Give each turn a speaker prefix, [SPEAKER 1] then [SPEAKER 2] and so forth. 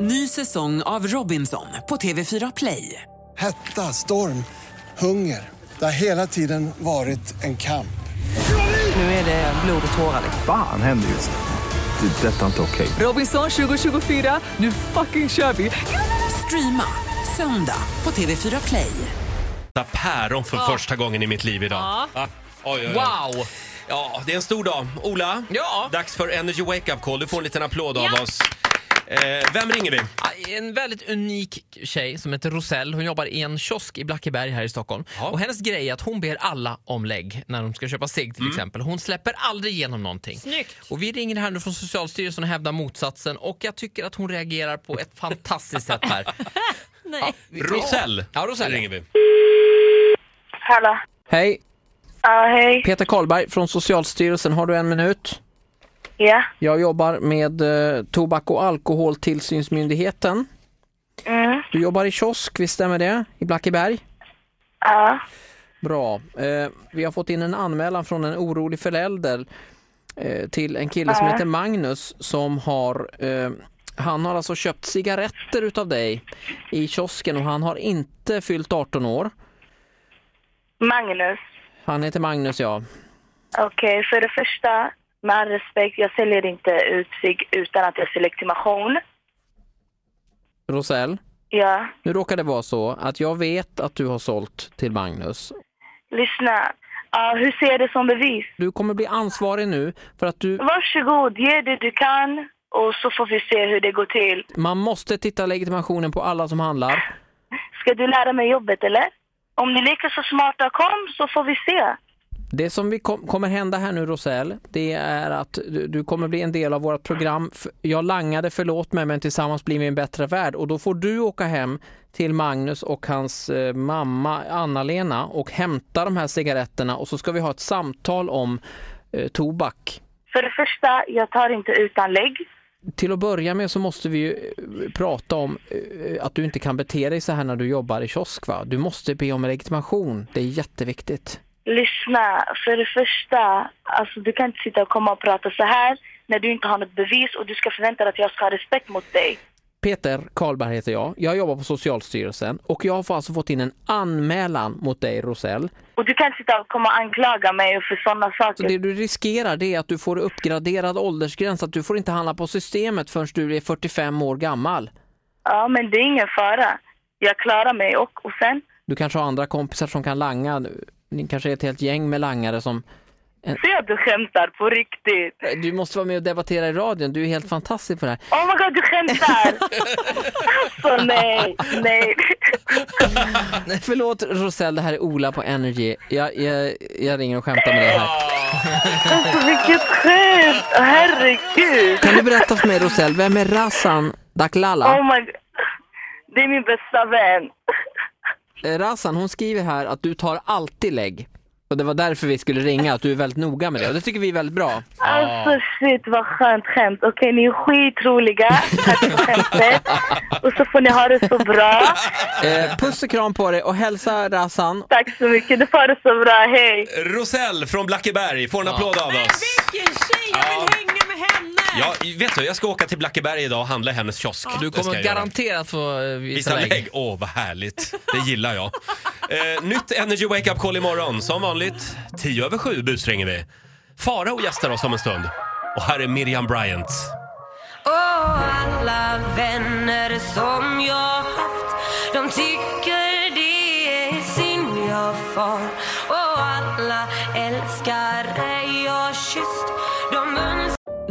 [SPEAKER 1] Ny säsong av Robinson på TV4 Play.
[SPEAKER 2] Hetta, storm, hunger. Det har hela tiden varit en kamp.
[SPEAKER 1] Nu är det blod och tårar.
[SPEAKER 3] Fan händer just nu. Det. är Detta är inte okej.
[SPEAKER 1] Robinson 2024, nu fucking kör vi! Streama söndag på TV4 Play.
[SPEAKER 4] äta päron för första gången i mitt liv idag. Va? Oj, oj, oj.
[SPEAKER 5] Wow!
[SPEAKER 4] Ja, det är en stor dag. Ola,
[SPEAKER 5] Ja.
[SPEAKER 4] dags för Energy Wake Up Call. Du får en liten applåd av
[SPEAKER 5] Ja.
[SPEAKER 4] oss. Eh, vem ringer vi?
[SPEAKER 5] Ah, En väldigt unik tjej som heter Rosell. Hon jobbar i en kiosk i Blackeberg här i Stockholm. Och Hennes grej är att hon ber alla om lägg när de ska köpa sig till exempel. Hon släpper aldrig igenom någonting.
[SPEAKER 6] Snyggt.
[SPEAKER 5] Och Vi ringer här nu från Socialstyrelsen och hävdar motsatsen och jag tycker att hon reagerar på ett fantastiskt sätt här.
[SPEAKER 6] Nej.
[SPEAKER 4] Rosell.
[SPEAKER 5] Ja, Rosell.
[SPEAKER 4] ringer vi.
[SPEAKER 7] Hallå.
[SPEAKER 5] Hej,
[SPEAKER 7] Ja, hej.
[SPEAKER 5] Peter Karlberg från Socialstyrelsen. Har du en minut?
[SPEAKER 7] Ja.
[SPEAKER 5] Jag jobbar med eh, Tobak och alkoholtillsynsmyndigheten.
[SPEAKER 7] Mm.
[SPEAKER 5] Du jobbar i kiosk, visst stämmer det? I Blackeberg?
[SPEAKER 7] Ja.
[SPEAKER 5] Bra. Eh, vi har fått in en anmälan från en orolig förälder eh, till en kille som heter Magnus som har eh, han har alltså köpt cigaretter utav dig i kiosken och han har inte fyllt 18 år.
[SPEAKER 7] Magnus.
[SPEAKER 5] Han heter Magnus ja.
[SPEAKER 7] Okej, för det första, med all respekt, jag säljer inte ut sig utan att jag ser legitimation.
[SPEAKER 5] Rosell,
[SPEAKER 7] Ja.
[SPEAKER 5] nu råkar det vara så att jag vet att du har sålt till Magnus.
[SPEAKER 7] Lyssna. Ja, hur ser jag det som bevis?
[SPEAKER 5] Du kommer bli ansvarig nu för att du,
[SPEAKER 7] Varsågod, ge det du kan och så får vi se hur det går till.
[SPEAKER 5] man måste titta legitimationen på alla som handlar.
[SPEAKER 7] Ska du lära mig jobbet eller? Om ni leker så smarta, kom så får vi se.
[SPEAKER 5] Det som vi kom, kommer hända här nu Rosell, det är att du, du kommer bli en del av vårt program. F- Jag langade, förlåt mig, men tillsammans blir vi en bättre värld. Och då får du åka hem till Magnus och hans eh, mamma Anna-Lena och hämta de här cigaretterna och så ska vi ha ett samtal om eh, tobak.
[SPEAKER 7] För det första, jag tar inte utan lägg.
[SPEAKER 5] Till att börja med så måste vi ju eh, prata om eh, att du inte kan bete dig så här när du jobbar i kiosk. Va? Du måste be om legitimation, det är jätteviktigt.
[SPEAKER 7] Lyssna, för det första, alltså du kan inte sitta och komma och prata så här när du inte har något bevis och du ska förvänta dig att jag ska ha respekt mot dig.
[SPEAKER 5] Peter Karlberg heter jag. Jag jobbar på Socialstyrelsen och jag har alltså fått in en anmälan mot dig Rosell.
[SPEAKER 7] Och du kan inte sitta och komma och anklaga mig för sådana
[SPEAKER 5] Så
[SPEAKER 7] saker.
[SPEAKER 5] det du riskerar det är att du får uppgraderad åldersgräns, att du får inte handla på systemet förrän du är 45 år gammal.
[SPEAKER 7] Ja, men det är ingen fara. Jag klarar mig och, och sen,
[SPEAKER 5] Du kanske har andra kompisar som kan langa. Ni kanske är ett helt gäng med langare som...
[SPEAKER 7] ser jag att du skämtar på riktigt.
[SPEAKER 5] Du måste vara med och debattera i radion, du är helt fantastisk på det här.
[SPEAKER 7] Oh my god, du skämtar! alltså nej, nej.
[SPEAKER 5] Nej, förlåt Rosell, det här är Ola på Energy. Jag, jag, jag ringer och skämtar med dig här.
[SPEAKER 7] alltså vilket skämt! Herregud!
[SPEAKER 5] Kan du berätta för mig Rosell, vem är Razan Daklala?
[SPEAKER 7] Oh my god. Det är min bästa vän.
[SPEAKER 5] Eh, Razan, hon skriver här att du tar alltid lägg. Och det var därför vi skulle ringa, att du är väldigt noga med det. Och det tycker vi är väldigt bra.
[SPEAKER 7] Alltså shit vad skönt skämt. Okej ni är skitroliga. Tack för skämtet. Och så får ni ha det så bra.
[SPEAKER 5] Eh, puss och kram på dig och hälsa Razan.
[SPEAKER 7] Tack så mycket. Du får ha det så bra. Hej.
[SPEAKER 4] Rosell från Blackeberg får en applåd av
[SPEAKER 6] Men
[SPEAKER 4] oss.
[SPEAKER 6] vilken tjej! Jag vill hänga med henne!
[SPEAKER 4] Ja, vet du, jag ska åka till Blackeberg idag och handla i hennes kiosk.
[SPEAKER 5] Du
[SPEAKER 4] Det ska
[SPEAKER 5] kommer
[SPEAKER 4] jag göra.
[SPEAKER 5] garanterat få eh, visa
[SPEAKER 4] Visa
[SPEAKER 5] lägg.
[SPEAKER 4] lägg. Åh, vad härligt. Det gillar jag. Eh, nytt Energy Wake Up Call imorgon. Som vanligt, 10 över 7 busringer vi. Farao gästar oss om en stund. Och här är Miriam Bryant.
[SPEAKER 8] Och alla vänner som jag haft De tycker det är synd jag far Och alla älskare jag kysst De önskar